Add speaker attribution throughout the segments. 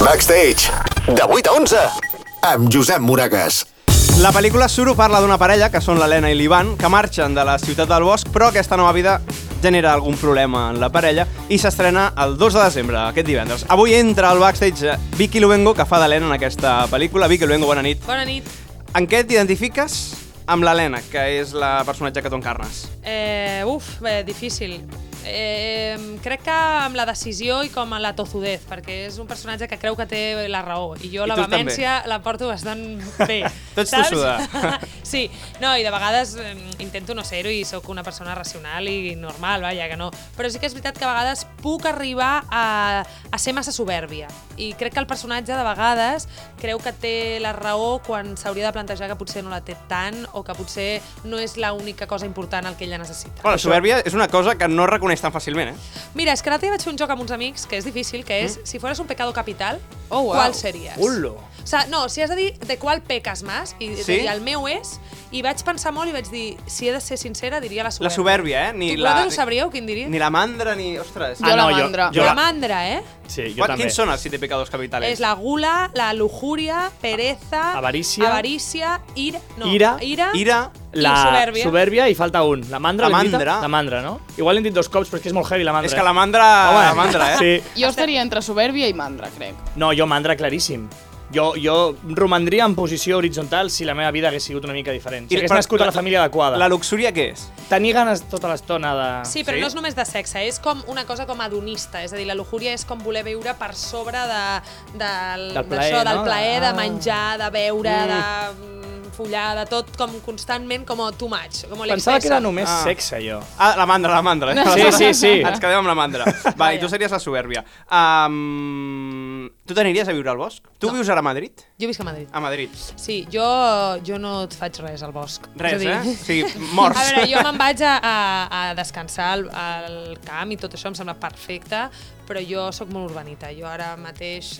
Speaker 1: Backstage, de 8 a 11, amb Josep Moragas.
Speaker 2: La pel·lícula Suro parla d'una parella, que són l'Helena i l'Ivan, que marxen de la ciutat del bosc, però aquesta nova vida genera algun problema en la parella i s'estrena el 2 de desembre, aquest divendres. Avui entra al backstage Vicky Luengo, que fa d'Helena en aquesta pel·lícula. Vicky Luengo, bona nit.
Speaker 3: Bona nit.
Speaker 2: En què t'identifiques amb l'Helena, que és la personatge que tu encarnes?
Speaker 3: Eh, uf, bé, difícil. Eh, crec que amb la decisió i com a la tozudez, perquè és un personatge que creu que té la raó, i jo
Speaker 2: I
Speaker 3: la
Speaker 2: tu també.
Speaker 3: vehemència la porto bastant bé.
Speaker 2: Tu ets
Speaker 3: saps?
Speaker 2: tossuda.
Speaker 3: sí, no, i de vegades eh, intento no ser-ho i sóc una persona racional i normal, vaja, que no. Però sí que és veritat que a vegades puc arribar a, a ser massa soberbia, i crec que el personatge de vegades creu que té la raó quan s'hauria de plantejar que potser no la té tant o que potser no és l'única cosa important el que ella necessita.
Speaker 2: Bueno, la soberbia és una cosa que no es reconeix tan fàcilment, eh?
Speaker 3: Mira, és que l'altre dia vaig fer un joc amb uns amics que és difícil, que és, si fueras un pecado capital, Mm. oh, wow. qual series?
Speaker 2: Ulo.
Speaker 3: O sea, no, si has de dir de qual peques més, i
Speaker 2: Sí?
Speaker 3: sí? dir el meu és, i vaig pensar molt i vaig dir, si he de ser sincera, diria la soberbia.
Speaker 2: La soberbia, eh? Ni
Speaker 3: Ni tu, eh?
Speaker 2: la,
Speaker 3: la... ho sabríeu, quin diria?
Speaker 2: ni la mandra, ni... Ostres.
Speaker 4: Jo la
Speaker 5: Ah, no, jo-
Speaker 4: mandra.
Speaker 5: jo
Speaker 3: la
Speaker 5: la-
Speaker 3: mandra, eh?
Speaker 5: Sí, jo
Speaker 2: Quant-
Speaker 5: també.
Speaker 2: Quins són els siete pecados capitales?
Speaker 3: És la gula, la lujuria, pereza...
Speaker 5: Avarícia.
Speaker 3: Avarícia, ira... No,
Speaker 5: Ira.
Speaker 3: Ira.
Speaker 2: Ira,
Speaker 5: La
Speaker 3: I soberbia.
Speaker 5: soberbia i falta un. La mandra,
Speaker 2: La
Speaker 5: l'hem dit?
Speaker 2: mandra.
Speaker 5: La mandra, no? Igual l'hem dit dos cops, però és que és molt heavy la mandra.
Speaker 2: És que la mandra...
Speaker 5: Home,
Speaker 2: la mandra, eh?
Speaker 5: Sí.
Speaker 4: Jo estaria entre soberbia i mandra, crec.
Speaker 5: No, jo mandra claríssim. Jo, jo romandria en posició horitzontal si la meva vida hagués sigut una mica diferent. Si
Speaker 2: I-
Speaker 5: hagués
Speaker 2: però-
Speaker 5: nascut a la família adequada.
Speaker 2: La luxúria què és?
Speaker 5: Tenir ganes tota l'estona de...
Speaker 3: Sí, però
Speaker 2: Sí?
Speaker 3: sí? no és només de sexe, és com una cosa com adonista, és a dir, la lujuria és com voler viure per sobre de, de,
Speaker 5: Del plaer,
Speaker 3: d'això, del
Speaker 5: no?
Speaker 3: plaer, de
Speaker 5: Ah.
Speaker 3: menjar, de beure,
Speaker 5: Mm.
Speaker 3: mm. de mm, follar, de tot, com constantment, com too much, com l'excessa.
Speaker 5: Pensava que era només
Speaker 2: Ah.
Speaker 5: ah. sexe, jo.
Speaker 2: Ah, la mandra, la mandra. Eh?
Speaker 5: Sí, sí, sí.
Speaker 2: Ens quedem amb la mandra. Va, i tu series la soberbia. Um, tu t'aniries a viure al bosc? Tu vius ara a Madrid?
Speaker 3: Jo visc a Madrid.
Speaker 2: A Madrid.
Speaker 3: Sí, jo, jo no et faig res al bosc.
Speaker 2: Res,
Speaker 3: és a
Speaker 2: eh?
Speaker 3: dir,
Speaker 2: Sí, morts.
Speaker 3: A veure, jo me'n vaig a, a, a descansar al, al camp i tot això em sembla perfecte, però jo sóc molt urbanita, jo ara mateix...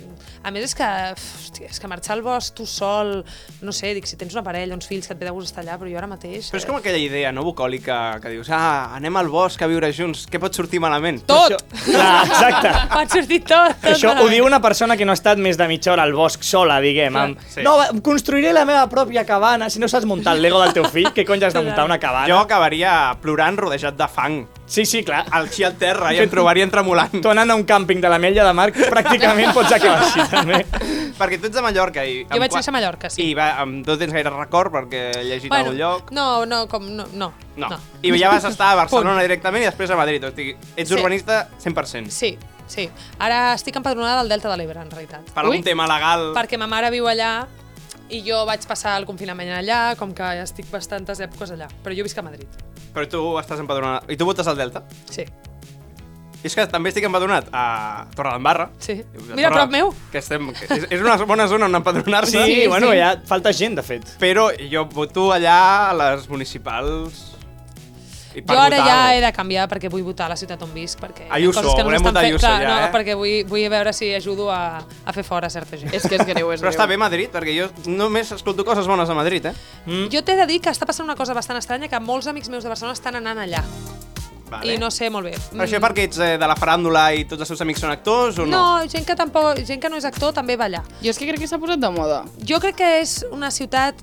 Speaker 3: A més és que, uf, hòstia, és que marxar al bosc tu sol, no sé, dic, si tens una parella, uns fills, que et ve de gust estar allà, però jo ara mateix...
Speaker 2: Però és
Speaker 3: eh,
Speaker 2: com aquella idea, no, bucòlica, que dius, ah, anem al bosc a viure junts, què pot sortir malament?
Speaker 3: Tot!
Speaker 5: Clar, Ah,
Speaker 2: Ah,
Speaker 5: exacte.
Speaker 3: Pot sortir tot, tot
Speaker 5: Això ho
Speaker 3: malament.
Speaker 5: diu una persona que no ha estat més de mitja hora al bosc sola, diguem. Amb...
Speaker 2: Sí.
Speaker 5: No, va- construiré la meva pròpia cabana. Si no saps muntar el Lego del teu fill, què cony has de muntar una cabana?
Speaker 2: Jo acabaria plorant rodejat de fang,
Speaker 5: Sí, sí, clar.
Speaker 2: així al terra, i em trobarien tremolant.
Speaker 5: Tu anant a un càmping de la Mella de Mar, pràcticament pots acabar així, també.
Speaker 2: Perquè tu ets de Mallorca i...
Speaker 3: Jo
Speaker 2: amb
Speaker 3: vaig
Speaker 2: qua-
Speaker 3: néixer a Mallorca, sí.
Speaker 2: I va, amb, no tens gaire record perquè he llegit a algun lloc.
Speaker 3: No, no, com... No, no.
Speaker 2: No.
Speaker 3: no.
Speaker 2: I ja vas estar a Barcelona
Speaker 3: Punt.
Speaker 2: directament i després a Madrid. O sigui, ets
Speaker 3: Sí.
Speaker 2: urbanista 100%.
Speaker 3: Sí, sí. Ara estic empadronada del Delta de l'Ebre, en realitat.
Speaker 2: Per algun
Speaker 4: Ui.
Speaker 2: tema legal...
Speaker 3: perquè ma mare viu allà i jo vaig passar el confinament allà, com que ja estic bastantes èpoques allà. Però jo visc a Madrid.
Speaker 2: Però tu estàs empadronat. I tu votes al Delta?
Speaker 3: Sí.
Speaker 2: I és que també estic empadronat a Torredembarra.
Speaker 3: Sí.
Speaker 2: A
Speaker 3: Mira, a prop meu.
Speaker 2: Que estem... que És, és una bona zona on
Speaker 5: Sí,
Speaker 2: empadronar-se.
Speaker 5: sí, bueno, ja falta gent, de fet.
Speaker 2: Però jo voto allà a les municipals... I per
Speaker 3: Jo ara
Speaker 2: votar
Speaker 3: ja
Speaker 2: no.
Speaker 3: he de canviar perquè vull votar a la ciutat on visc, perquè hi ha
Speaker 2: Ayuso,
Speaker 3: coses que no
Speaker 2: volem
Speaker 3: s'estan
Speaker 2: votar
Speaker 3: fent.
Speaker 2: Ayuso
Speaker 3: Clar,
Speaker 2: ja,
Speaker 3: no,
Speaker 2: eh?
Speaker 3: perquè vull, vull veure si ajudo a, a fer fora certa gent.
Speaker 4: És que és greu, és
Speaker 2: Però
Speaker 4: greu.
Speaker 2: està bé Madrid, perquè jo només escolto coses bones a Madrid, eh?
Speaker 3: Jo t'he de dir que està passant una cosa bastant estranya, que molts amics meus de Barcelona estan anant allà.
Speaker 2: Vale.
Speaker 3: I no sé molt bé.
Speaker 2: Però això
Speaker 3: Mm.
Speaker 2: perquè ets eh, de la faràndula i tots els teus amics són actors o no?
Speaker 3: No, gent que, tampoc, gent que no és actor també va allà.
Speaker 4: Jo és que crec que s'ha posat de moda.
Speaker 3: Jo crec que és una ciutat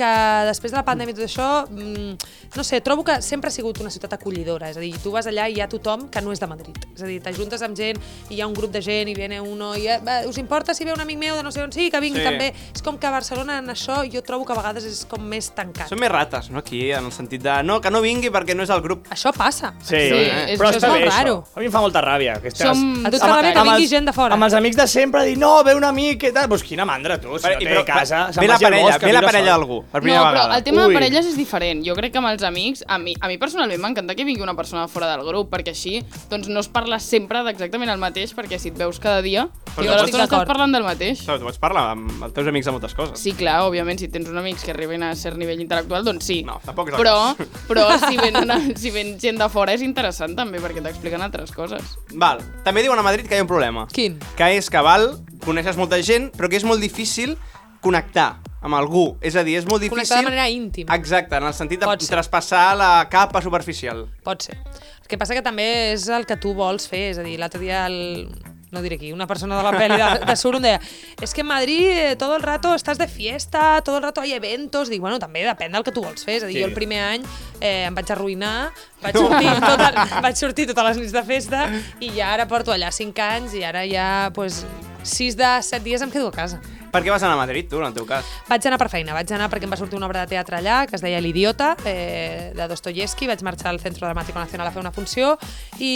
Speaker 3: que després de la pandèmia i tot això, mm, no sé, trobo que sempre ha sigut una ciutat acollidora, és a dir, tu vas allà i hi ha tothom que no és de Madrid, és a dir, t'ajuntes amb gent i hi ha un grup de gent i viene uno i eh, va, us importa si ve un amic meu de no sé on sí, que vingui
Speaker 2: Sí.
Speaker 3: sí. també, és com que a Barcelona en això jo trobo que a vegades és com més tancat.
Speaker 2: Són més rates, no, aquí, en el sentit de no, que no vingui perquè no és el grup.
Speaker 3: Això passa.
Speaker 5: Sí, eh?
Speaker 4: és-
Speaker 5: però
Speaker 4: això
Speaker 5: està
Speaker 4: és
Speaker 5: bé,
Speaker 3: molt raro.
Speaker 5: això. A mi em fa molta ràbia. Que estàs...
Speaker 4: Som-
Speaker 3: A tu et
Speaker 4: Amb-
Speaker 3: fa ràbia que
Speaker 4: amb
Speaker 3: vingui
Speaker 5: els-
Speaker 3: gent de fora.
Speaker 5: Amb els amics de sempre, dir, no, ve un amic i tal. Pues quina mandra, tu, si
Speaker 2: Vale,
Speaker 5: no
Speaker 2: i
Speaker 5: té
Speaker 2: però-
Speaker 5: casa. se'n
Speaker 2: ve la
Speaker 5: vagi al
Speaker 2: parella,
Speaker 5: bosc a
Speaker 2: ve la
Speaker 5: viure
Speaker 2: parella
Speaker 5: sola.
Speaker 2: d'algú, per
Speaker 4: No,
Speaker 2: primera
Speaker 4: però
Speaker 2: vegada.
Speaker 4: el tema
Speaker 5: Ui.
Speaker 4: de parelles és diferent. Jo crec que amb els amics, a mi, a mi personalment m'encanta que vingui una persona de fora del grup, perquè així doncs no es parla sempre d'exactament el mateix, perquè si et veus cada dia,
Speaker 2: Però
Speaker 4: i de
Speaker 2: no
Speaker 3: estic
Speaker 4: l'estona estàs
Speaker 3: d'acord.
Speaker 4: parlant del mateix.
Speaker 2: Tu pots parlar amb els teus amics de moltes coses.
Speaker 4: Sí, clar, òbviament, si tens uns amics que arriben a cert nivell intel·lectual, doncs sí.
Speaker 2: No, tampoc és el
Speaker 4: però,
Speaker 2: cas.
Speaker 4: però si, ven una, si ven gent de fora és interessant també, perquè t'expliquen altres coses.
Speaker 2: Val, també diuen a Madrid que hi ha un problema.
Speaker 3: Quin?
Speaker 2: Que és que, val, coneixes molta gent, però que és molt difícil connectar amb algú. És a dir, és molt difícil...
Speaker 3: Connectar de manera íntima.
Speaker 2: Exacte, en el sentit de
Speaker 3: Pot ser.
Speaker 2: traspassar la capa superficial.
Speaker 3: Pot ser. El que passa que també és el que tu vols fer, és a dir, l'altre dia el, no diré aquí, una persona de la peli de, de Suro em deia és que en Madrid eh, todo el rato estàs de fiesta, todo el rato hay eventos, dic, bueno, també depèn del que tu vols fer, és a dir,
Speaker 5: Sí.
Speaker 3: sí. jo el primer any eh, em vaig arruïnar, vaig sortir, tota, vaig sortir totes les nits de festa i ja ara porto allà 5 anys i ara ja, pues, 6 de 7 dies em quedo a casa.
Speaker 2: Per què vas anar a Madrid, tu, en el teu cas?
Speaker 3: Vaig anar per feina, vaig anar perquè em va sortir una obra de teatre allà que es deia L'idiota, eh, de Dostoyevsky, vaig marxar al Centro Dramático Nacional a fer una funció i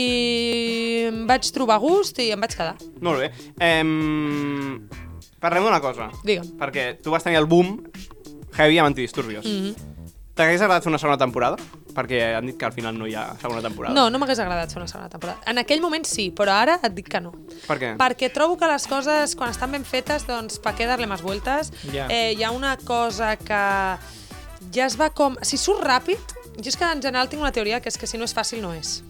Speaker 3: em vaig trobar a gust i em vaig quedar.
Speaker 2: Molt bé. Em... Parlem d'una cosa.
Speaker 3: Digue'm.
Speaker 2: Perquè tu vas tenir el boom heavy amb antidisturbios. Mm
Speaker 3: Mhm.
Speaker 2: T'hagués agradat fer una segona temporada? Perquè han dit que al final no hi ha segona temporada.
Speaker 3: No, no m'hagués agradat fer una segona temporada. En aquell moment sí, però ara et dic que no.
Speaker 2: Per què?
Speaker 3: Perquè trobo que les coses, quan estan ben fetes, doncs, pa què dar-li més vueltes?
Speaker 5: Ja.
Speaker 3: Eh, hi ha una cosa que ja es va com... Si surt ràpid, jo és que en general tinc una teoria que és que si no és fàcil, no és.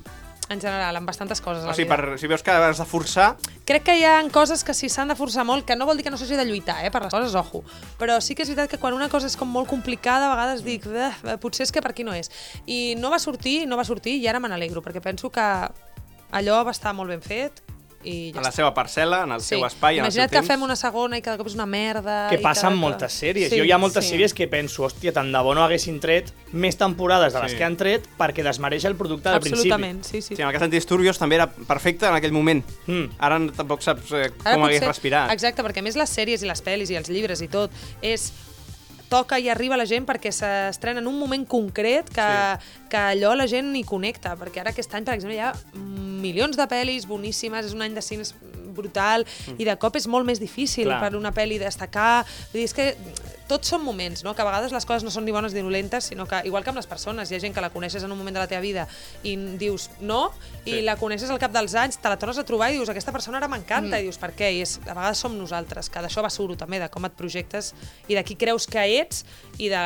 Speaker 3: En general, amb bastantes coses. a la
Speaker 2: O sigui,
Speaker 3: vida.
Speaker 2: per, si veus que has de forçar,
Speaker 3: Crec que hi ha coses que si s'han de forçar molt, que no vol dir que no s'hagi de lluitar, eh, per les coses, ojo. Però sí que és veritat que quan una cosa és com molt complicada, a vegades dic, "Beh, potser és que per aquí no és. I no va sortir, no va sortir, i ara me n'alegro, perquè penso que allò va estar molt ben fet, i ja
Speaker 2: en la
Speaker 3: està.
Speaker 2: seva parcel·la, en el
Speaker 3: Sí.
Speaker 2: seu espai, en el seu
Speaker 3: Imagina't
Speaker 2: temps...
Speaker 3: que fem una segona i cada cop és una merda...
Speaker 5: que
Speaker 3: i
Speaker 5: passa
Speaker 3: cada
Speaker 5: en
Speaker 3: cop-
Speaker 5: moltes sèries.
Speaker 3: Sí,
Speaker 5: Sí, jo hi ha moltes
Speaker 4: sí.
Speaker 5: sí. sèries que penso, hòstia, tant de bo no haguessin tret més temporades de les
Speaker 2: Sí.
Speaker 5: sí. que han tret perquè desmereix el producte del principi.
Speaker 3: Absolutament, sí, sí.
Speaker 2: Sí, en el cas d'antidisturbios també era perfecte en aquell moment.
Speaker 5: Mm.
Speaker 2: Ara n- tampoc saps eh,
Speaker 3: Ara
Speaker 2: com hagués
Speaker 3: potser-
Speaker 2: respirat.
Speaker 3: Exacte, perquè a més les sèries i les pel·lis i els llibres i tot és toca i arriba a la gent perquè s'estrena en un moment concret que, sí. que allò la gent hi connecta, perquè ara aquest any, per exemple, hi ha milions de pel·lis boníssimes, és un any de cines brutal mm. i de cop és molt més difícil
Speaker 5: Clar.
Speaker 3: Clar. per una pel·li destacar. Vull dir, és que tots són moments, no? que a vegades les coses no són ni bones ni dolentes, sinó que, igual que amb les persones, hi ha gent que la coneixes en un moment de la teva vida i n- dius no, i
Speaker 2: Sí.
Speaker 3: la coneixes al cap dels anys, te la tornes a trobar i dius aquesta persona ara m'encanta, mm. i dius per què? I és, a vegades som nosaltres, que d'això va suro també, de com et projectes i de qui creus que ets i de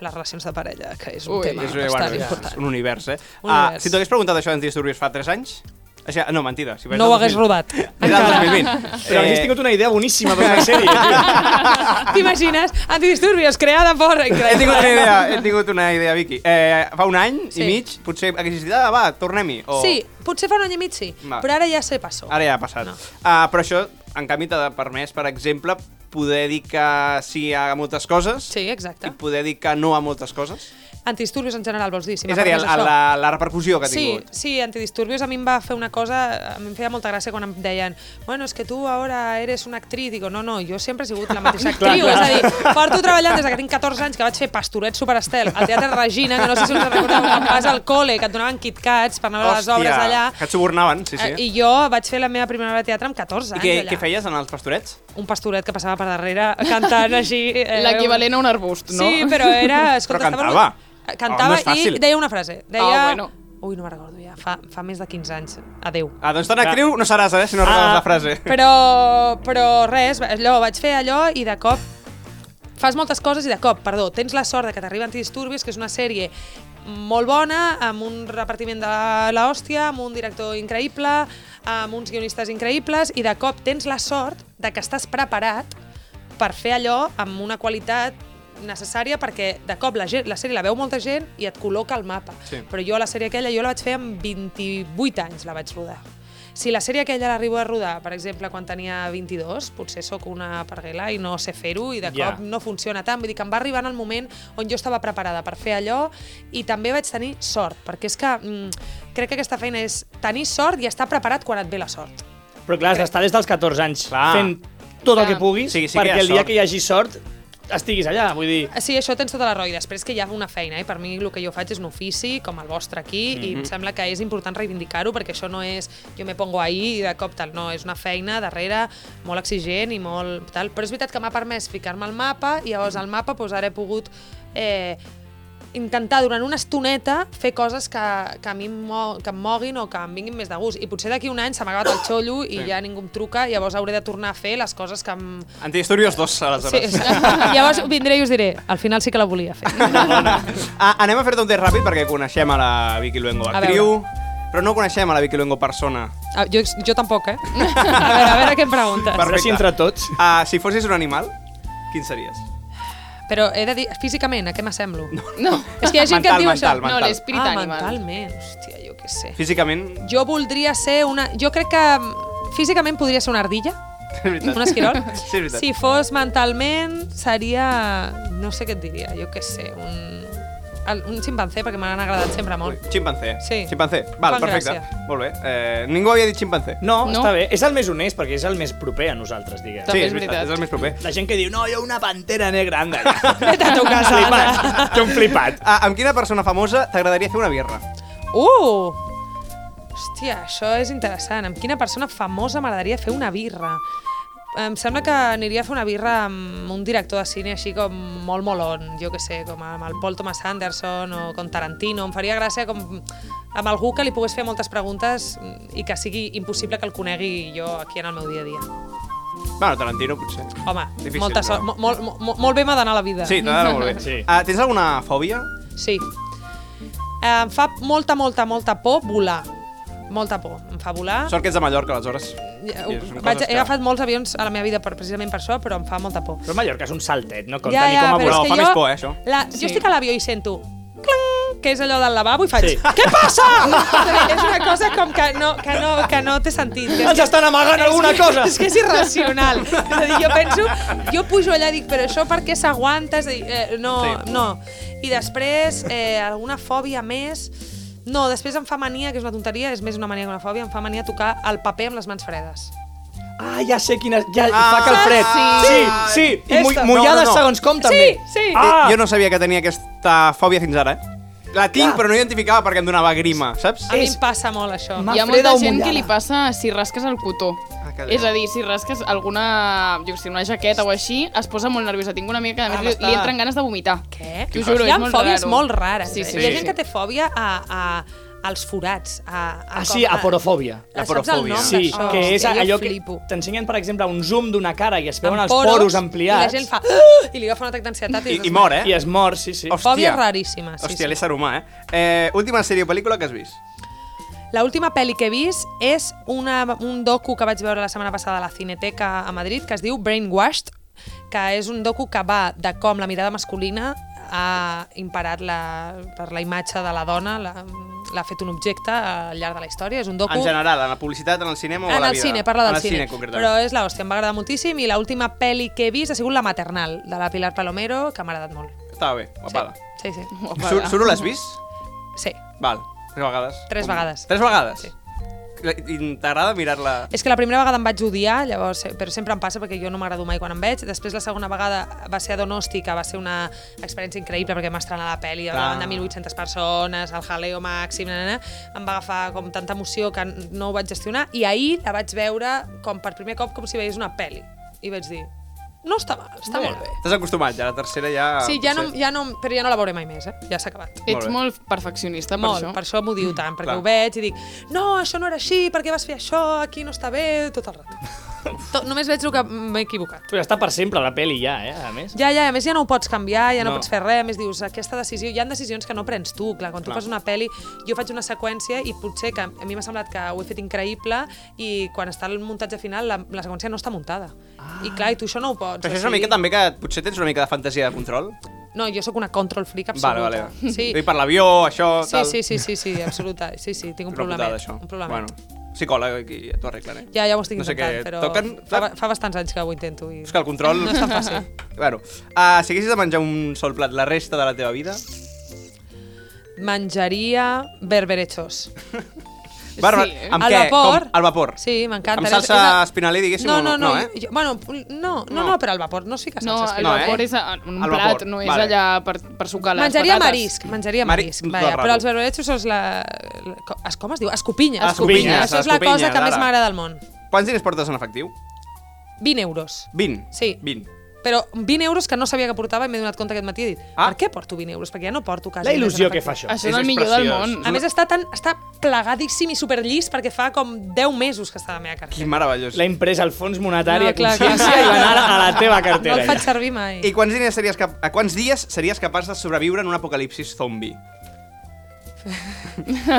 Speaker 3: les relacions de parella, que és un
Speaker 4: Ui,
Speaker 3: tema
Speaker 2: És, eh,
Speaker 3: bastant
Speaker 2: bueno, és
Speaker 3: important.
Speaker 2: un univers, eh?
Speaker 3: Un
Speaker 2: ah,
Speaker 3: univers.
Speaker 2: Si t'hagués preguntat això d'antidisturbios fa 3 anys... O sigui, no, mentida. Si
Speaker 3: No ho hagués rodat.
Speaker 2: Era el 2020.
Speaker 5: Però eh... hagués tingut una idea boníssima per una sèrie, tio.
Speaker 3: T'imagines? Antidisturbios, creada por...
Speaker 2: He tingut una idea, he tingut una idea, Vicky. Eh, fa un any sí.
Speaker 3: Sí.
Speaker 2: i mig, potser haguessis dit, ah, va, tornem-hi. O...
Speaker 3: Sí, potser fa un any i mig sí,
Speaker 2: Va.
Speaker 3: però ara ja se passó.
Speaker 2: Ara ja ha passat. No. Uh, però això, en canvi, t'ha permès, per exemple, poder dir que sí a moltes coses
Speaker 3: Sí, exacte.
Speaker 2: i poder dir que no a moltes coses.
Speaker 3: Antidisturbios en general, vols dir? Si
Speaker 2: és a dir,
Speaker 3: m'apartes
Speaker 2: a
Speaker 3: això.
Speaker 2: la, la repercussió que ha
Speaker 3: Sí,
Speaker 2: tingut.
Speaker 3: sí, Antidisturbios a mi em va fer una cosa, a mi em feia molta gràcia quan em deien bueno, és que tu ara eres una actriu, digo, no, no, jo sempre he sigut la mateixa actriu, és a dir, porto treballant des que tinc 14 anys que vaig fer Pastoret Superestel al Teatre Regina, que no sé si us en recordeu, quan vas al col·le, que et donaven KitKats per anar a les obres allà,
Speaker 2: que et subornaven, sí, sí.
Speaker 3: eh, i jo vaig fer la meva primera obra de teatre amb 14
Speaker 2: I
Speaker 3: anys
Speaker 2: què,
Speaker 3: allà.
Speaker 2: què feies en els pastorets?
Speaker 3: Un pastoret que passava per darrere cantant així... eh,
Speaker 4: L'equivalent a un arbust, no?
Speaker 3: Sí, però era... Escolta,
Speaker 2: Però
Speaker 3: estava-
Speaker 2: cantava.
Speaker 3: Cantava
Speaker 2: Oh, no és fàcil.
Speaker 3: i deia una frase. Deia...
Speaker 4: Ah, bueno.
Speaker 3: Ui, no me'n recordo ja. Fa, fa més de 15 anys. Adeu.
Speaker 2: Ah, doncs tan actriu no seràs, eh, si no recordes
Speaker 5: Ah.
Speaker 2: la frase.
Speaker 3: Però, però res, allò, vaig fer allò i de cop fas moltes coses i de cop, perdó, tens la sort de que t'arriba Antidisturbios, que és una sèrie molt bona, amb un repartiment de l'hòstia, amb un director increïble, amb uns guionistes increïbles, i de cop tens la sort de que estàs preparat per fer allò amb una qualitat necessària perquè de cop la, gent, la sèrie la veu molta gent i et col·loca al mapa.
Speaker 2: Sí.
Speaker 3: Però jo la sèrie aquella jo la vaig fer amb 28 anys, la vaig rodar. Si la sèrie aquella l'arribo a rodar, per exemple, quan tenia 22, potser sóc una parguela i no sé fer-ho i de
Speaker 5: Ja.
Speaker 3: cop no funciona tant. Vull dir que em va arribar en el moment on jo estava preparada per fer allò i també vaig tenir sort, perquè és que mm, crec que aquesta feina és tenir sort i estar preparat quan et ve la sort.
Speaker 5: Però clar, has d'estar des dels 14 anys
Speaker 2: Clar.
Speaker 5: fent tot el
Speaker 4: Clar.
Speaker 5: que puguis
Speaker 2: Sí, sí que hi
Speaker 5: perquè
Speaker 2: ha
Speaker 5: el dia
Speaker 2: sort.
Speaker 5: que hi hagi sort estiguis allà, vull dir...
Speaker 3: Sí, això tens tota la raó. I després que hi ha una feina, eh? per mi el que jo faig és un ofici, com el vostre aquí, mm -hmm. i em sembla que és important reivindicar-ho, perquè això no és jo me pongo ahí i de cop tal, no, és una feina darrere molt exigent i molt tal. Però és veritat que m'ha permès ficar-me al mapa i llavors al mapa doncs, ara he pogut eh, intentar durant una estoneta fer coses que, que a mi em mo- que em moguin o que em vinguin més de gust. I potser d'aquí un any se m'ha acabat el xollo i sí. ja ningú em truca, llavors hauré de tornar a fer les coses que em,
Speaker 2: Antidisturbios 2,
Speaker 3: Sí,
Speaker 2: aleshores.
Speaker 3: sí. Llavors vindré i us diré, al final sí que la volia fer.
Speaker 2: Ah, anem a fer-te un test ràpid perquè coneixem a la Vicky Luengo
Speaker 3: A
Speaker 2: actriu, però no coneixem a la Vicky Luengo persona.
Speaker 3: Ah, jo, jo tampoc, eh? A veure, a veure què em preguntes.
Speaker 5: Perfecte.
Speaker 2: Perfecte.
Speaker 5: Si entre tots...
Speaker 2: Ah, si fossis un animal, quin series?
Speaker 3: Però he de dir, físicament, a què m'assemblo?
Speaker 4: No,
Speaker 3: És que hi ha gent que
Speaker 2: Mental,
Speaker 3: em diu
Speaker 2: mental,
Speaker 3: això.
Speaker 4: no l'esprit
Speaker 3: ah,
Speaker 4: animal.
Speaker 3: mentalment, hòstia, jo què sé.
Speaker 2: Físicament,
Speaker 3: Jo voldria ser una... Jo crec que mm, Físicament podria ser una ardilla, un esquirol.
Speaker 2: Sí, és veritat.
Speaker 3: si fos mentalment, seria... No sé què et diria, jo què sé, un, el- un ximpancé, perquè m'han agradat sempre
Speaker 2: Ui,
Speaker 3: molt.
Speaker 2: Ximpancé.
Speaker 3: Sí.
Speaker 2: Ximpancé. Val,
Speaker 3: Fan
Speaker 2: perfecte.
Speaker 3: gràcia.
Speaker 2: Molt bé. Eh, ningú havia dit ximpancé.
Speaker 5: No,
Speaker 4: No.
Speaker 5: no, està bé. És el més honest perquè és el més proper a nosaltres, diguem.
Speaker 4: També
Speaker 2: sí,
Speaker 4: és
Speaker 2: és veritat,
Speaker 4: veritat.
Speaker 2: és el més proper.
Speaker 5: La gent que diu, no, jo una pantera negra, anda. Vete a tu casa, flipat. Jo un flipat.
Speaker 2: Ah, amb quina persona famosa t'agradaria fer una birra?
Speaker 3: Uh! Hòstia, això és interessant. Amb quina persona famosa m'agradaria fer una birra? Em sembla que aniria a fer una birra amb un director de cine així com molt molon, jo que sé, com amb el Paul Thomas Anderson o com Tarantino. Em faria gràcia com amb algú que li pogués fer moltes preguntes mm, i que sigui impossible que el conegui jo aquí en el meu dia a dia.
Speaker 2: Bueno, Tarantino, potser.
Speaker 3: Home,
Speaker 2: Difícil,
Speaker 3: molta
Speaker 2: però.
Speaker 3: sort, mo- molt, molt, molt bé m'ha d'anar la vida.
Speaker 2: Sí, t'agrada molt bé.
Speaker 5: Sí.
Speaker 2: Ah, tens alguna fòbia?
Speaker 3: Sí. Em fa molta, molta, molta por volar. Molta por. Em fa volar.
Speaker 2: Sort que ets de Mallorca, aleshores.
Speaker 3: Ja,
Speaker 2: Sí, són
Speaker 3: Vaig,
Speaker 2: coses
Speaker 3: he agafat molts avions a la meva vida per, precisament per això, però em fa molta por.
Speaker 5: Però Mallorca és un saltet, no compta ni com a
Speaker 2: però
Speaker 5: volar.
Speaker 2: és fa més por, eh, això.
Speaker 3: La,
Speaker 4: Sí.
Speaker 3: Jo estic a l'avió i sento clang, que és allò del lavabo i faig
Speaker 5: Sí.
Speaker 3: què passa? és una cosa com que no, que no, que no té sentit. Que és
Speaker 5: Ens
Speaker 3: que-
Speaker 5: estan amagant alguna
Speaker 3: és que,
Speaker 5: cosa!
Speaker 3: És que és irracional. És a dir, jo penso, jo pujo allà i dic, però això per què s'aguanta? És a dir, eh, no,
Speaker 2: Sí.
Speaker 3: no. I després, eh, alguna fòbia més... No, després em fa mania, que és una tonteria, és més una mania que una fòbia, em fa mania tocar el paper amb les mans fredes.
Speaker 5: Ah, ja sé quina... Ja ah,
Speaker 2: Ah,
Speaker 5: fa calfred.
Speaker 4: sí.
Speaker 5: sí. sí. I mu
Speaker 2: Esta.
Speaker 5: mullades
Speaker 2: No, no, no.
Speaker 5: segons com, també.
Speaker 3: sí.
Speaker 5: Ah!
Speaker 2: Eh, Jo no sabia que tenia aquesta fòbia fins ara, eh? La tinc, però no identificava perquè em donava grima, saps?
Speaker 3: A mi
Speaker 5: És-
Speaker 3: em passa molt això.
Speaker 5: Ma-
Speaker 4: Hi ha
Speaker 5: Freda
Speaker 4: molta
Speaker 5: o
Speaker 4: gent
Speaker 5: mullada?
Speaker 4: que li passa si rasques el cotó.
Speaker 2: Ah, que bé.
Speaker 4: és a dir, si rasques alguna, jo que sé, una jaqueta o així, es posa molt nerviosa. Tinc una amiga que a més
Speaker 5: Ah,
Speaker 4: li,
Speaker 5: m'està-
Speaker 4: li entren ganes de vomitar.
Speaker 3: Què?
Speaker 4: T'ho juro,
Speaker 3: Hi ha
Speaker 4: és molt
Speaker 3: fòbies
Speaker 4: raro.
Speaker 3: molt rares. eh?
Speaker 4: Sí, sí,
Speaker 3: Hi ha
Speaker 4: sí.
Speaker 3: gent que té fòbia a, a, als forats. A, a
Speaker 5: Ah, sí, aporofòbia.
Speaker 2: La
Speaker 3: Saps el
Speaker 2: porofòbia.
Speaker 3: nom
Speaker 5: Sí,
Speaker 3: d'això?
Speaker 5: que és
Speaker 3: Hòstia, jo
Speaker 5: allò que
Speaker 3: flipo.
Speaker 5: t'ensenyen, per exemple, un zoom d'una cara i es veuen
Speaker 3: Amb
Speaker 5: els poros
Speaker 3: I
Speaker 5: ampliats.
Speaker 3: la gent fa... I li agafa un atac d'ansietat i,
Speaker 2: I, I mor, eh?
Speaker 5: I es mor, sí, sí.
Speaker 2: Hòstia.
Speaker 3: Fòbies raríssimes. Sí,
Speaker 2: Hòstia,
Speaker 3: sí.
Speaker 2: l'ésser humà, eh? eh? Última sèrie o pel·lícula que has vist?
Speaker 3: L'última pel·li que he vist és una, un docu que vaig veure la setmana passada a la Cineteca a Madrid, que es diu Brainwashed, que és un docu que va de com la mirada masculina ha imparat la, per la imatge de la dona, la- l'ha fet un objecte al llarg de la història. És un docu...
Speaker 2: En general, en la publicitat, en el cinema o a
Speaker 3: en
Speaker 2: la
Speaker 3: el
Speaker 2: vida?
Speaker 3: cine, parla
Speaker 2: en
Speaker 3: del
Speaker 2: el cine,
Speaker 3: cine.
Speaker 2: concretament.
Speaker 3: però és l'hòstia, em va agradar moltíssim i l'última pel·li que he vist ha sigut La maternal, de la Pilar Palomero, que m'ha agradat molt.
Speaker 2: Estava bé, guapada.
Speaker 3: Sí, sí. sí.
Speaker 4: Guapada.
Speaker 2: Sur, Suro l'has vist?
Speaker 3: sí.
Speaker 2: Val, tres vegades.
Speaker 3: Tres vegades.
Speaker 2: Tres vegades?
Speaker 3: Sí.
Speaker 2: La- i T'agrada mirar-la...
Speaker 3: És que la primera vegada em vaig odiar, llavors, eh, però sempre em passa perquè jo no m'agrado mai quan em veig. Després la segona vegada va ser a Donosti, que va ser una experiència increïble perquè em va estrenar la pel·li
Speaker 2: Clar.
Speaker 3: davant de 1.800 persones, el jaleo màxim, na, na, na. em va agafar com tanta emoció que n- no ho vaig gestionar i ahir la vaig veure com per primer cop com si veiés una pel·li i vaig dir, no està mal, està molt bé. Ah,
Speaker 2: T'has acostumat, ja la tercera ja...
Speaker 3: Sí, ja no,
Speaker 2: potser-
Speaker 3: ja no, però ja no la veuré mai més, eh? Ja s'ha acabat.
Speaker 4: Ets
Speaker 2: Molt bé.
Speaker 4: molt perfeccionista per
Speaker 3: Molt,
Speaker 4: això.
Speaker 3: per això m'ho diu tant, perquè
Speaker 2: clar.
Speaker 3: ho veig i dic no, això no era així, per què vas fer això, aquí no està bé, tot el rato. Tot, només veig el que m'he equivocat.
Speaker 5: Però està per sempre la peli ja, eh, a més.
Speaker 3: Ja, ja, a més ja no ho pots canviar, ja no,
Speaker 2: No.
Speaker 3: no pots fer res, a més dius, aquesta decisió, hi han decisions que no prens tu, clar, quan tu
Speaker 2: Clar.
Speaker 3: fas una pel·li, jo faig una seqüència i potser que a mi m'ha semblat que ho he fet increïble i quan està el muntatge final la, la seqüència no està muntada. Ah. I clar, i tu això no ho pots.
Speaker 2: Però això és una
Speaker 3: decidir.
Speaker 2: mica també que potser tens una mica de fantasia de control.
Speaker 3: No, jo sóc una control freak absoluta.
Speaker 2: Vale, vale.
Speaker 3: Sí,
Speaker 2: I per l'avió, això,
Speaker 3: Sí,
Speaker 2: tal...
Speaker 3: sí, sí, sí, sí, absoluta. Sí, sí, tinc un
Speaker 2: Una
Speaker 3: problema. eh,
Speaker 2: putada, això.
Speaker 3: Un problema. Bueno.
Speaker 2: Bueno, psicòleg, aquí ja t'ho arreglaré.
Speaker 3: Ja, ja ho estic
Speaker 2: no sé
Speaker 3: intentant,
Speaker 2: què,
Speaker 3: però
Speaker 2: Toquen...
Speaker 3: fa, ba- fa bastants anys que ho intento. I...
Speaker 2: És que el control...
Speaker 3: No és tan fàcil.
Speaker 2: Bueno, uh, si haguessis de menjar un sol plat la resta de la teva vida...
Speaker 3: Menjaria berberechos.
Speaker 2: Barba-
Speaker 4: eh?
Speaker 2: Amb
Speaker 3: Al
Speaker 2: què?
Speaker 3: vapor.
Speaker 2: Com? Al vapor.
Speaker 3: Sí, m'encanta.
Speaker 2: Amb
Speaker 3: És-
Speaker 2: salsa
Speaker 3: és la-
Speaker 2: espinalí, diguéssim,
Speaker 3: No,
Speaker 2: o no?
Speaker 3: no, no.
Speaker 2: No, eh?
Speaker 3: jo- bueno, no, no, no,
Speaker 2: No.
Speaker 3: però al vapor no es fica
Speaker 4: No,
Speaker 3: salsa
Speaker 4: el
Speaker 3: espinalí.
Speaker 2: No, eh?
Speaker 4: vapor és en un
Speaker 2: Al
Speaker 4: plat,
Speaker 2: vapor,
Speaker 4: no és
Speaker 2: vale.
Speaker 4: allà per, per sucar les
Speaker 3: Menjaria
Speaker 4: patates.
Speaker 3: marisc, menjaria
Speaker 2: Mari-
Speaker 3: marisc,
Speaker 2: tot
Speaker 3: vaja,
Speaker 2: raro.
Speaker 3: però els berberechos és la... la co- Es, com es diu? Escopinyes.
Speaker 2: Ah, Escopinyes,
Speaker 3: Això és la
Speaker 2: escopinyes,
Speaker 3: cosa que més
Speaker 2: ara.
Speaker 3: m'agrada del món.
Speaker 2: Quants diners portes en efectiu?
Speaker 3: 20 euros.
Speaker 2: 20?
Speaker 3: Sí.
Speaker 2: 20.
Speaker 3: Però 20 euros que no sabia que portava i m'he donat compte aquest matí i he dit,
Speaker 2: Ah.
Speaker 3: per què porto 20 euros? Perquè ja no porto quasi...
Speaker 5: La
Speaker 3: diners
Speaker 5: il·lusió
Speaker 3: en
Speaker 5: que fa
Speaker 3: efectiu.
Speaker 5: això.
Speaker 4: Això és
Speaker 5: És
Speaker 4: el millor del
Speaker 5: preciós.
Speaker 4: món.
Speaker 3: A més, està, tan, està plegadíssim i superllis perquè fa com 10 mesos que està a la meva
Speaker 2: Quin
Speaker 3: cartera.
Speaker 2: meravellós.
Speaker 5: L'ha imprès el fons monetari
Speaker 3: No,
Speaker 5: a
Speaker 3: clar, clar,
Speaker 5: consciència
Speaker 3: clar.
Speaker 5: i va anar a la teva
Speaker 3: No
Speaker 5: cartera.
Speaker 3: el faig servir mai.
Speaker 2: I quants, diners series cap... a quants dies series capaç de sobreviure en un apocalipsis zombi?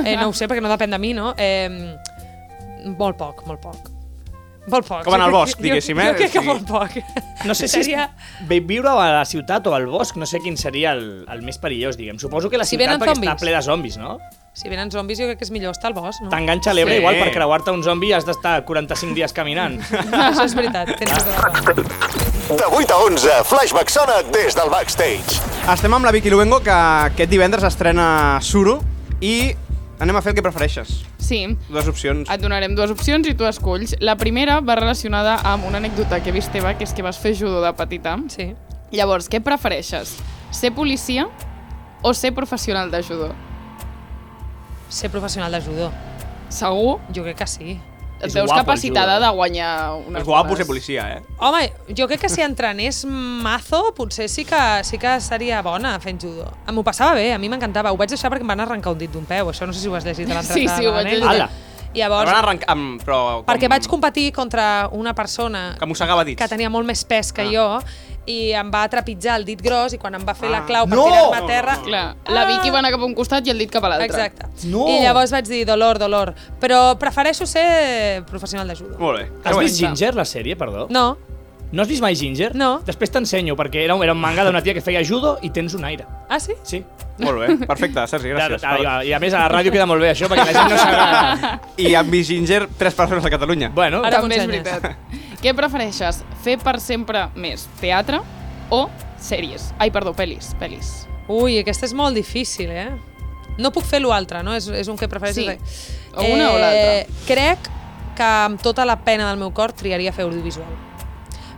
Speaker 3: Eh, no ho sé, perquè no depèn de mi, no? Eh, molt poc, molt poc. Molt poc.
Speaker 2: Com en el
Speaker 3: Jo crec-
Speaker 2: bosc, diguéssim, eh?
Speaker 3: Jo, jo crec
Speaker 2: O
Speaker 3: que
Speaker 2: sigui-
Speaker 3: molt poc.
Speaker 5: No sé si és
Speaker 3: Seria...
Speaker 5: vi- viure a la ciutat o al bosc, no sé quin seria el, el més perillós, diguem. Suposo que la
Speaker 3: Si
Speaker 5: ciutat
Speaker 3: venen
Speaker 5: perquè
Speaker 3: zombis.
Speaker 5: està ple de zombis, no?
Speaker 3: Si venen zombis, jo crec que és millor estar al bosc, no?
Speaker 5: T'enganxa a l'Ebre,
Speaker 2: Sí.
Speaker 5: igual, per creuar-te un zombi has d'estar 45 dies caminant.
Speaker 3: Això és veritat, tens tota la raó.
Speaker 1: De 8 a 11, Flashback sona des del backstage.
Speaker 2: Estem amb la Vicky Luengo, que aquest divendres estrena Suro, i anem a fer el que prefereixes.
Speaker 4: Sí,
Speaker 2: Dues opcions.
Speaker 4: Et donarem dues opcions i tu esculls. La primera va relacionada amb una anècdota que he vist teva, que és que vas fer judo de petita.
Speaker 3: Sí.
Speaker 4: Llavors, què prefereixes? Ser policia o ser professional de judo?
Speaker 3: Ser professional de judo.
Speaker 4: Segur?
Speaker 3: Jo crec que sí.
Speaker 4: Et
Speaker 2: És
Speaker 4: veus
Speaker 2: guapo el
Speaker 4: capacitada
Speaker 2: judo, eh?
Speaker 4: de guanyar unes
Speaker 2: És guapo
Speaker 4: bones.
Speaker 2: ser policia, eh?
Speaker 3: Home, jo crec que si entrenés mazo, potser sí que, sí que seria bona fent judo. M'ho passava bé, a mi m'encantava. Ho vaig deixar perquè em van arrencar un dit d'un peu, això no sé si ho has llegit a l'entrada.
Speaker 4: Sí, sí, ho
Speaker 3: de
Speaker 4: vaig
Speaker 3: l'anècdota.
Speaker 4: llegir.
Speaker 2: Ala. Em
Speaker 3: Llavors,
Speaker 2: van arrencar amb... Però, com...
Speaker 3: perquè vaig competir contra una persona
Speaker 2: Que mossegava dits.
Speaker 3: que tenia molt més pes que
Speaker 2: Ah.
Speaker 3: jo i em va trepitjar el dit gros i quan em va fer la
Speaker 2: Ah.
Speaker 3: clau per
Speaker 5: No!
Speaker 3: tirar-me a terra...
Speaker 4: Clar, la Vicky va anar cap a un costat i el dit cap a l'altre.
Speaker 3: Ah. Exacte.
Speaker 5: No!
Speaker 3: I llavors vaig dir, dolor, dolor. Però prefereixo ser professional de judo.
Speaker 2: Molt bé.
Speaker 5: Has vist
Speaker 4: Comença.
Speaker 5: Ginger, la sèrie, perdó?
Speaker 3: No,
Speaker 5: No has vist mai Ginger?
Speaker 3: No.
Speaker 5: Després t'ensenyo, perquè era, era un manga d'una tia que feia judo i tens un aire.
Speaker 3: ah sí?
Speaker 5: Sí.
Speaker 2: Molt bé, perfecte, Sergi,
Speaker 5: Gràcies.
Speaker 2: gràcies.
Speaker 5: a, I a més, a la ràdio queda molt bé això, perquè la gent no sabrà...
Speaker 2: I han vist Ginger tres persones a Catalunya.
Speaker 5: Bueno,
Speaker 3: Ara
Speaker 4: També és
Speaker 3: m'ensenyes.
Speaker 4: veritat. què prefereixes? Fer per sempre més teatre o sèries? Ai, perdó, pel·lis. pel·lis.
Speaker 3: Ui, aquesta és molt difícil, eh? No puc fer l'altre, no? És, és un que prefereixo.
Speaker 4: Sí.
Speaker 3: fer. Eh,
Speaker 4: O una o l'altra.
Speaker 3: Crec que amb tota la pena del meu cor triaria fer audiovisual.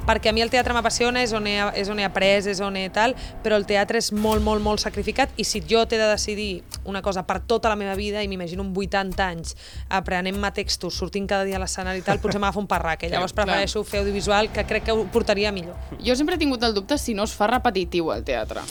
Speaker 3: Perquè a mi el teatre m'apassiona, és, on he, és on he après, és on he tal, però el teatre és molt, molt, molt sacrificat i si jo t'he de decidir una cosa per tota la meva vida i m'imagino amb 80 anys aprenent-me textos, sortint cada dia a l'escenari i tal, potser m'agafa un parraque. Llavors
Speaker 4: clar.
Speaker 3: prefereixo fer audiovisual, que crec que ho portaria millor.
Speaker 4: Jo sempre he tingut el dubte si no es fa repetitiu al teatre.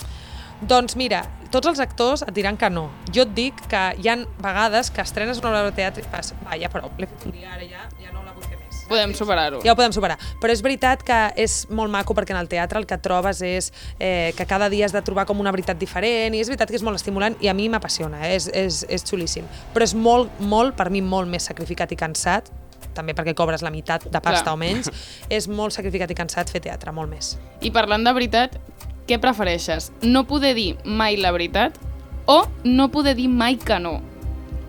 Speaker 3: Doncs mira, tots els actors et diran que no. Jo et dic que hi han vegades que estrenes una obra de teatre i fas, va, ja prou, l'he fet un dia, ara ja, ja no la vull fer més.
Speaker 4: Podem superar-ho.
Speaker 3: Ja ho podem superar. Però és veritat que és molt maco perquè en el teatre el que trobes és eh, que cada dia has de trobar com una veritat diferent i és veritat que és molt estimulant i a mi m'apassiona, eh? és, és, és xulíssim. Però és molt, molt, per mi, molt més sacrificat i cansat també perquè cobres la meitat de pasta
Speaker 4: Clar.
Speaker 3: o menys, és molt sacrificat i cansat fer teatre, molt més.
Speaker 4: I parlant de veritat, què prefereixes? No poder dir mai la veritat o no poder dir mai que no?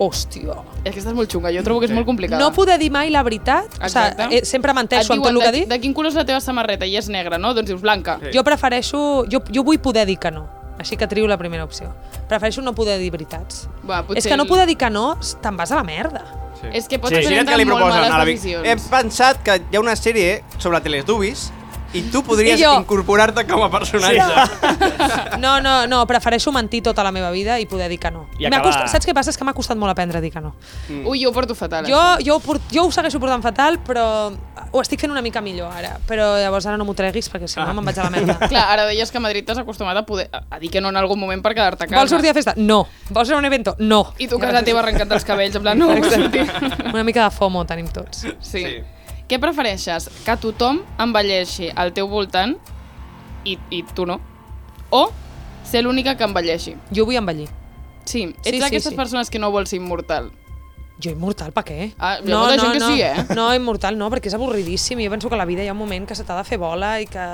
Speaker 3: Hòstia!
Speaker 4: És que estàs molt xunga, jo trobo que és molt complicada.
Speaker 3: No poder dir mai la veritat, o
Speaker 4: Exacte.
Speaker 3: sigui, eh, sempre menteixo
Speaker 4: Et
Speaker 3: amb tot el
Speaker 4: diuen,
Speaker 3: que
Speaker 4: de,
Speaker 3: dic.
Speaker 4: de quin color és la teva samarreta? I és negra, no? Doncs dius blanca.
Speaker 2: Sí.
Speaker 4: Sí.
Speaker 3: Jo prefereixo... Jo, jo vull poder dir que no, així que trio la primera opció. Prefereixo no poder dir veritats.
Speaker 4: Va, potser
Speaker 3: És que no
Speaker 4: el-
Speaker 3: poder dir que no, te'n vas a la merda.
Speaker 2: Sí.
Speaker 4: És que pots
Speaker 5: Sí.
Speaker 4: sí.
Speaker 2: Imagina't
Speaker 4: prendre
Speaker 2: que li
Speaker 4: molt
Speaker 2: proposen a la
Speaker 4: males
Speaker 2: Vic.
Speaker 4: decisions.
Speaker 2: He pensat que hi ha una sèrie sobre Teletubbies i tu podries
Speaker 3: I jo.
Speaker 2: incorporar-te com a personatge.
Speaker 3: No, no, no, prefereixo mentir tota la meva vida i poder dir que no.
Speaker 5: I
Speaker 3: M'ha
Speaker 5: acabar.
Speaker 3: Cost... Saps què passa? És que m'ha costat molt aprendre a dir que no.
Speaker 2: Mm.
Speaker 4: Ui, jo ho porto fatal. eh.
Speaker 3: Jo,
Speaker 4: això.
Speaker 3: jo, ho port... jo ho segueixo portant fatal, però ho estic fent una mica millor ara. Però llavors ara no m'ho treguis perquè
Speaker 5: Ah.
Speaker 3: si no me'n vaig a la merda.
Speaker 4: Clar, ara deies que a Madrid t'has acostumat a, poder, a dir que no en algun moment per quedar-te a casa.
Speaker 3: Vols sortir a festa? No. Vols anar a un evento? No.
Speaker 4: I tu a casa teva arrencant els cabells, en plan, no vull sortir.
Speaker 3: Una mica de FOMO tenim tots.
Speaker 4: Sí.
Speaker 2: Sí.
Speaker 4: sí. Què prefereixes? Que tothom envelleixi al teu voltant i, i tu no? O ser l'única que envelleixi?
Speaker 3: Jo vull envellir.
Speaker 4: Sí,
Speaker 3: Sí,
Speaker 4: ets
Speaker 3: sí,
Speaker 4: sí,
Speaker 3: sí.
Speaker 4: d'aquestes sí. persones que no vols ser immortal.
Speaker 3: Jo immortal, per què?
Speaker 4: Ah, hi ha molta gent que
Speaker 3: no.
Speaker 4: sí, eh?
Speaker 3: No, immortal no, perquè és avorridíssim. Jo penso que la vida hi ha un moment que se t'ha de fer bola i que...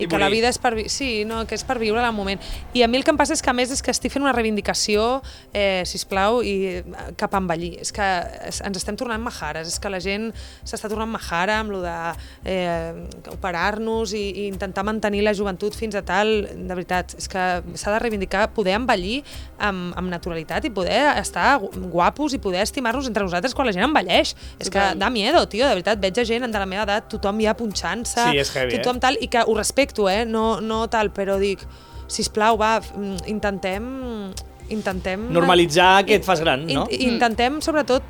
Speaker 3: I,
Speaker 2: I
Speaker 3: que la
Speaker 2: morir.
Speaker 3: vida és per, vi- sí, no, que és per viure al moment. I a mi el que em passa és que a més és que estic fent una reivindicació, eh, sisplau, i eh, cap a envellir. És que es- ens estem tornant majares, és que la gent s'està tornant majara amb lo de eh, operar-nos i, i intentar mantenir la joventut fins a tal, de veritat, és que s'ha de reivindicar poder envellir amb, amb naturalitat i poder estar gu- guapos i poder estimar-nos entre nosaltres quan la gent envelleix. És que
Speaker 4: Total.
Speaker 3: da miedo, tio, de veritat, veig a gent de la meva edat, tothom ja punxant-se,
Speaker 5: Sí, és heavy, eh?
Speaker 3: tothom tal, i que ho respecto, eh? no, no tal, però dic, sisplau, va, f- mm, intentem... intentem
Speaker 5: normalitzar que et fas gran,
Speaker 3: in- Mm.
Speaker 5: no?
Speaker 3: Intentem, sobretot,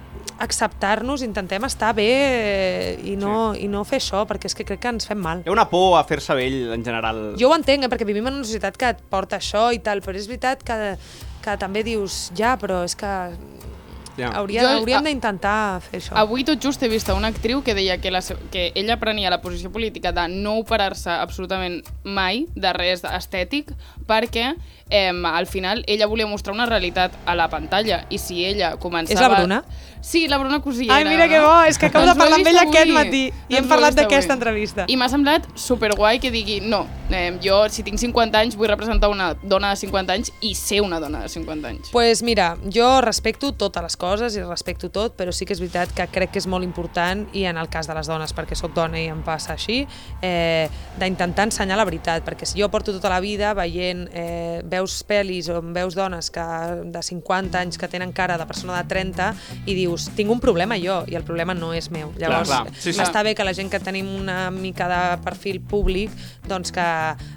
Speaker 3: acceptar-nos, intentem estar bé eh, i no, i no fer això, perquè és que crec que ens fem mal.
Speaker 2: Hi ha una por a fer-se vell en general.
Speaker 3: Jo ho entenc, eh, perquè vivim en una societat que et porta això i tal, però és veritat que, que també dius, ja, però és que
Speaker 2: Ja.
Speaker 3: Hauria,
Speaker 4: Jo-
Speaker 3: hauríem
Speaker 4: a-
Speaker 3: d'intentar fer això.
Speaker 4: Avui tot just he vist a una actriu que deia que, la, se- que ella prenia la posició política de no operar-se absolutament mai de res estètic perquè eh, al final ella volia mostrar una realitat a la pantalla i si ella començava...
Speaker 3: Bruna?
Speaker 4: Sí, la Bruna Cosillera.
Speaker 3: Ai, mira que bo, és que acabo de
Speaker 4: ho Doncs he
Speaker 3: parlar amb
Speaker 4: vist
Speaker 3: ella aquest matí i hem
Speaker 4: ho he
Speaker 3: parlat
Speaker 4: vist
Speaker 3: d'aquesta
Speaker 4: avui.
Speaker 3: entrevista.
Speaker 4: I m'ha semblat superguai que digui no, eh, jo si tinc 50 anys vull representar una dona de 50 anys i ser una dona de 50 anys.
Speaker 3: Pues mira, jo respecto totes les coses i respecto tot, però sí que és veritat que crec que és molt important, i en el cas de les dones, perquè sóc dona i em passa així, eh, d'intentar ensenyar la veritat, perquè si jo porto tota la vida veient, eh, veus pel·lis o em veus dones que, de 50 anys que tenen cara de persona de 30 i dius, tinc un problema jo, i el problema no és meu. Llavors,
Speaker 2: clar. Sí, sí.
Speaker 3: està bé que la gent que tenim una mica de perfil públic doncs que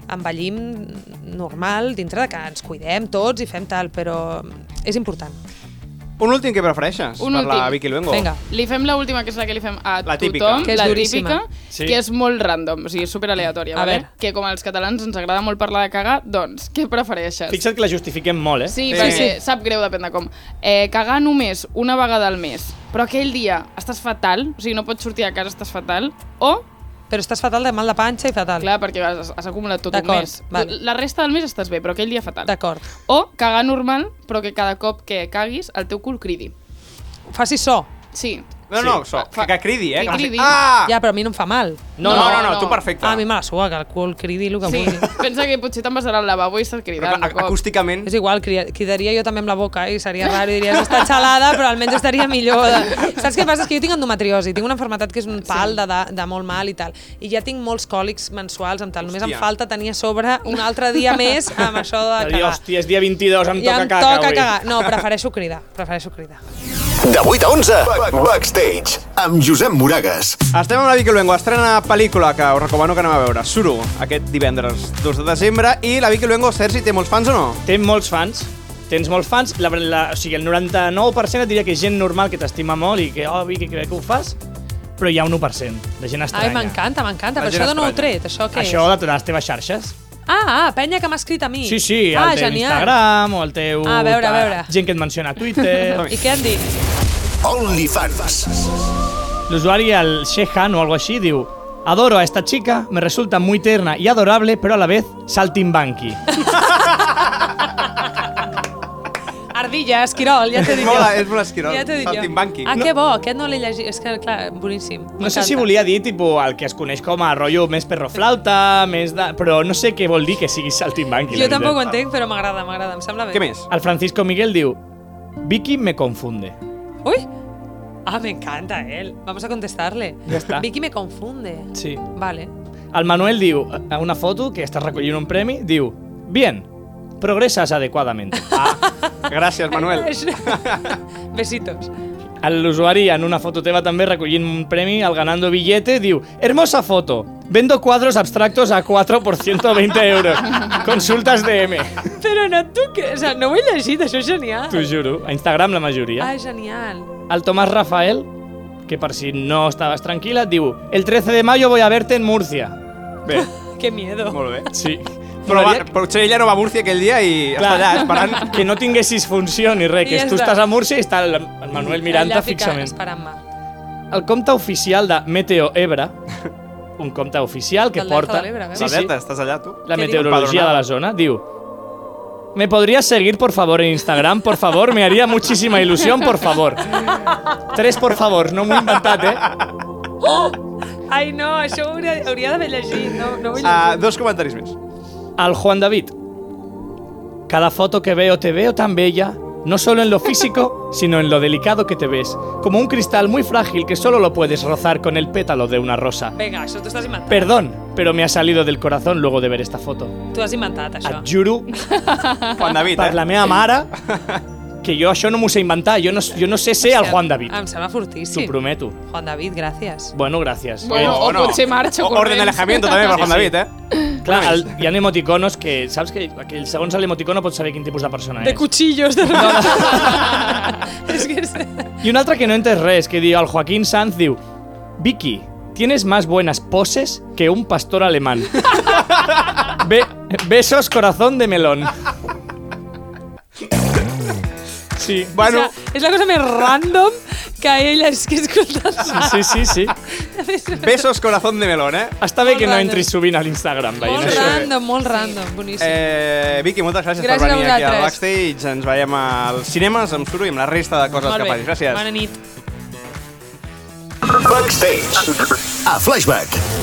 Speaker 3: envellim normal, dintre de que ens cuidem tots i fem tal, però és important.
Speaker 2: Un últim que prefereixes
Speaker 4: Un
Speaker 2: per la
Speaker 4: últim.
Speaker 2: Vicky Luengo.
Speaker 3: Vinga.
Speaker 4: Li fem la última, que és la que li fem a
Speaker 2: La típica.
Speaker 4: tothom,
Speaker 3: Que és
Speaker 4: la
Speaker 3: duríssima.
Speaker 4: típica,
Speaker 5: Sí.
Speaker 4: que és molt random, o sigui, super aleatòria,
Speaker 3: A
Speaker 4: vale?
Speaker 3: veure.
Speaker 4: que com als catalans ens agrada molt parlar de cagar, doncs, què prefereixes?
Speaker 5: Fixa't que la justifiquem molt, eh?
Speaker 4: Sí,
Speaker 2: Sí.
Speaker 4: sí, perquè
Speaker 2: Sí.
Speaker 4: sap greu, depèn de com. Eh, cagar només una vegada al mes, però aquell dia estàs fatal, o sigui, no pots sortir a casa, estàs fatal, o,
Speaker 3: Però estàs fatal de mal de panxa i fatal.
Speaker 4: clar, perquè has, has acumulat tot un
Speaker 3: D'acord,
Speaker 4: mes.
Speaker 3: vale.
Speaker 4: La resta del mes estàs bé, però aquell dia fatal.
Speaker 3: D'acord.
Speaker 4: O cagar normal, però que cada cop que caguis el teu cul cridi.
Speaker 3: Faci so.
Speaker 4: Sí.
Speaker 2: No, no, so,
Speaker 4: Fa-
Speaker 2: que cridi, eh?
Speaker 4: que
Speaker 2: faci-
Speaker 4: cridi.
Speaker 2: Ah!
Speaker 3: Ja, però a mi no em fa mal.
Speaker 2: No, no, no, no,
Speaker 4: no.
Speaker 2: tu perfecte.
Speaker 3: Ah, a mi me la sua, que el cul cridi el que
Speaker 4: Sí,
Speaker 3: vulgui.
Speaker 4: pensa que potser te'n vas anar al lavabo i estàs
Speaker 2: Però
Speaker 4: cridant.
Speaker 2: clar,
Speaker 4: un cop.
Speaker 2: acústicament...
Speaker 3: És igual, cri- cridaria jo també amb la boca eh, i seria raro, i diries, està xalada, però almenys estaria millor. De... Saps què passa? És que jo tinc endometriosi, tinc una malaltia que és un pal de, de, de molt mal i tal, i ja tinc molts còlics mensuals amb tal, només
Speaker 2: Hòstia.
Speaker 3: em falta tenir a sobre un altre dia més amb això de
Speaker 5: Dir,
Speaker 3: cagar.
Speaker 5: hòstia, és dia 22, em
Speaker 3: Ja
Speaker 5: toca
Speaker 3: em
Speaker 5: caca
Speaker 3: toca
Speaker 5: avui.
Speaker 3: cagar. No, prefereixo cridar, prefereixo cridar.
Speaker 1: De 8 a 11, Back- Backstage, amb Josep Moragues.
Speaker 2: Estem amb la Vicky Luengo, estrena pel·lícula que us recomano que anem a veure, Suro, aquest divendres 2 de desembre, i la Vicky Luengo, Sergi, té molts fans o no?
Speaker 5: Té molts fans, tens molts fans, la, la, o sigui, el 99% et diria que és gent normal que t'estima molt i que, oh, Vicky, que bé que ho fas, però hi ha un 1% de gent estranya.
Speaker 3: Ai, m'encanta, m'encanta,
Speaker 2: La
Speaker 3: però
Speaker 2: gent
Speaker 3: això d'on ho heu
Speaker 2: estranya.
Speaker 3: tret? Això què
Speaker 5: Això
Speaker 3: és?
Speaker 5: de totes les teves xarxes.
Speaker 3: Ah, ah, penya que m'ha escrit a mi.
Speaker 5: Sí, sí,
Speaker 3: ah,
Speaker 5: el teu
Speaker 3: genial.
Speaker 5: Instagram o el teu...
Speaker 3: Ah, a veure, a veure.
Speaker 5: Gent que et menciona a Twitter.
Speaker 3: I què han dit?
Speaker 1: OnlyFans.
Speaker 5: L'usuari, el Shehan o algo així, diu Adoro a esta chica, me resulta muy terna y adorable, pero a la vez saltimbanqui.
Speaker 3: Ardilla, Esquirol, ja t'he dit
Speaker 2: Mola,
Speaker 3: jo.
Speaker 2: és molt Esquirol,
Speaker 3: Ja t'he dit
Speaker 2: saltimbanqui.
Speaker 3: jo. Ah,
Speaker 2: No-
Speaker 3: que bo, aquest no l'he llegit. És que, clar, boníssim.
Speaker 5: No sé si
Speaker 3: M'encanta.
Speaker 5: volia dir tipo, el que es coneix com a rotllo més perroflauta, més de... però no sé què vol dir que sigui saltimbanqui.
Speaker 3: Jo
Speaker 5: la veritat.
Speaker 3: tampoc ho entenc, però m'agrada, m'agrada, em sembla bé.
Speaker 2: Què més?
Speaker 5: El Francisco Miguel diu Vicky me confunde.
Speaker 3: Ui! Ah, me encanta él. Vamos a contestarle.
Speaker 5: Ya está.
Speaker 3: Vicky me confunde.
Speaker 5: Sí.
Speaker 3: Vale.
Speaker 5: El Manuel diu, a una foto que estàs recollint un premi, diu Bien, progressas adequadament.
Speaker 2: Gràcies, Manuel.
Speaker 3: Besitos.
Speaker 5: L'usuari en una foto teva també recollint un premi al Ganando Billete diu Hermosa foto, vendo cuadros abstractos a 4 por 120 euros. Consultas DM.
Speaker 3: Però no, tu què? O sigui, no ho he llegit, això és genial.
Speaker 5: T'ho juro, a Instagram la majoria.
Speaker 3: Ah, genial.
Speaker 5: al Tomás Rafael, que por si no estabas tranquila, digo, el 13 de mayo voy a verte en Murcia.
Speaker 2: Bé,
Speaker 3: Que miedo.
Speaker 2: molt bé.
Speaker 5: Sí.
Speaker 2: Però va,
Speaker 5: Molaria-
Speaker 2: potser ella no va a Múrcia aquell dia i està
Speaker 5: Clar.
Speaker 2: allà esperant.
Speaker 5: que no tinguessis funció ni res,
Speaker 3: I
Speaker 5: que
Speaker 3: ja
Speaker 5: tu
Speaker 3: està.
Speaker 5: estàs a Múrcia i està el, el Manuel mirant-te fixament.
Speaker 3: Esperant-me.
Speaker 5: El compte oficial de Meteo Ebre, un compte oficial que
Speaker 3: Del Delta
Speaker 5: porta
Speaker 3: de l'Ebre, veus?
Speaker 5: sí,
Speaker 2: Sí,
Speaker 5: sí,
Speaker 2: Delta, estàs allà, tu?
Speaker 5: la
Speaker 3: Què
Speaker 5: meteorologia
Speaker 2: diu?
Speaker 5: de la zona, diu ¿Me podrías seguir, por favor, en Instagram? Por favor, me haría muchísima ilusión, por favor. Tres, por favor, no m'ho he inventat, eh?
Speaker 3: Ai, no, això ho hauria, hauria d'haver llegit. No, no ho he
Speaker 2: Ah,
Speaker 3: llegit.
Speaker 2: dos comentaris més.
Speaker 5: al Juan David. Cada foto que veo te veo tan bella, no solo en lo físico, sino en lo delicado que te ves, como un cristal muy frágil que solo lo puedes rozar con el pétalo de una rosa.
Speaker 3: Vinga, això t'ho estàs inventant.
Speaker 5: Perdón, pero me ha salido del corazón luego de ver esta foto.
Speaker 3: T'ho has inventat, això.
Speaker 5: Et juro
Speaker 2: Juan David,
Speaker 5: per la
Speaker 2: eh?
Speaker 5: meva mare que jo això no m'ho sé inventar, jo no, jo no sé ser el Juan David.
Speaker 3: Em sembla
Speaker 5: T'ho
Speaker 3: fortíssim.
Speaker 5: prometo.
Speaker 3: Juan David, gràcies.
Speaker 5: Bueno, gràcies.
Speaker 4: Bueno, o potser marxa
Speaker 2: O- Orden
Speaker 4: corrents.
Speaker 2: de alejamiento també per Juan
Speaker 5: Sí, sí.
Speaker 2: David, eh?
Speaker 5: Eh, clar, el, hi ha emoticonos que, saps que, que segons l'emoticono pots saber quin tipus de persona és.
Speaker 3: De cuchillos, de És que és...
Speaker 5: Y un altre que no entes res, que diu el Joaquín Sanz, diu Vicky, tienes más buenas poses que un pastor alemán. Be- besos corazón de melón. Sí.
Speaker 2: Bueno,
Speaker 3: O sea, és la cosa més random que ella és que he escoltat.
Speaker 5: Sí, sí, sí.
Speaker 2: besos corazón de melón, eh?
Speaker 5: Està bé
Speaker 3: Molt
Speaker 5: que no
Speaker 3: random.
Speaker 5: entris sovint a l'Instagram veient
Speaker 3: Molt
Speaker 5: això.
Speaker 3: random, molt random, boníssim.
Speaker 2: Eh, Vicky, moltes gràcies,
Speaker 3: Gràcies
Speaker 2: per
Speaker 3: a
Speaker 2: venir aquí al
Speaker 3: vosaltres.
Speaker 2: backstage. Ens veiem als cinemes amb Suro i amb la resta de coses
Speaker 3: molt
Speaker 2: que
Speaker 3: bé.
Speaker 2: facis. Gràcies.
Speaker 3: Bona nit.
Speaker 1: Backstage. A Flashback.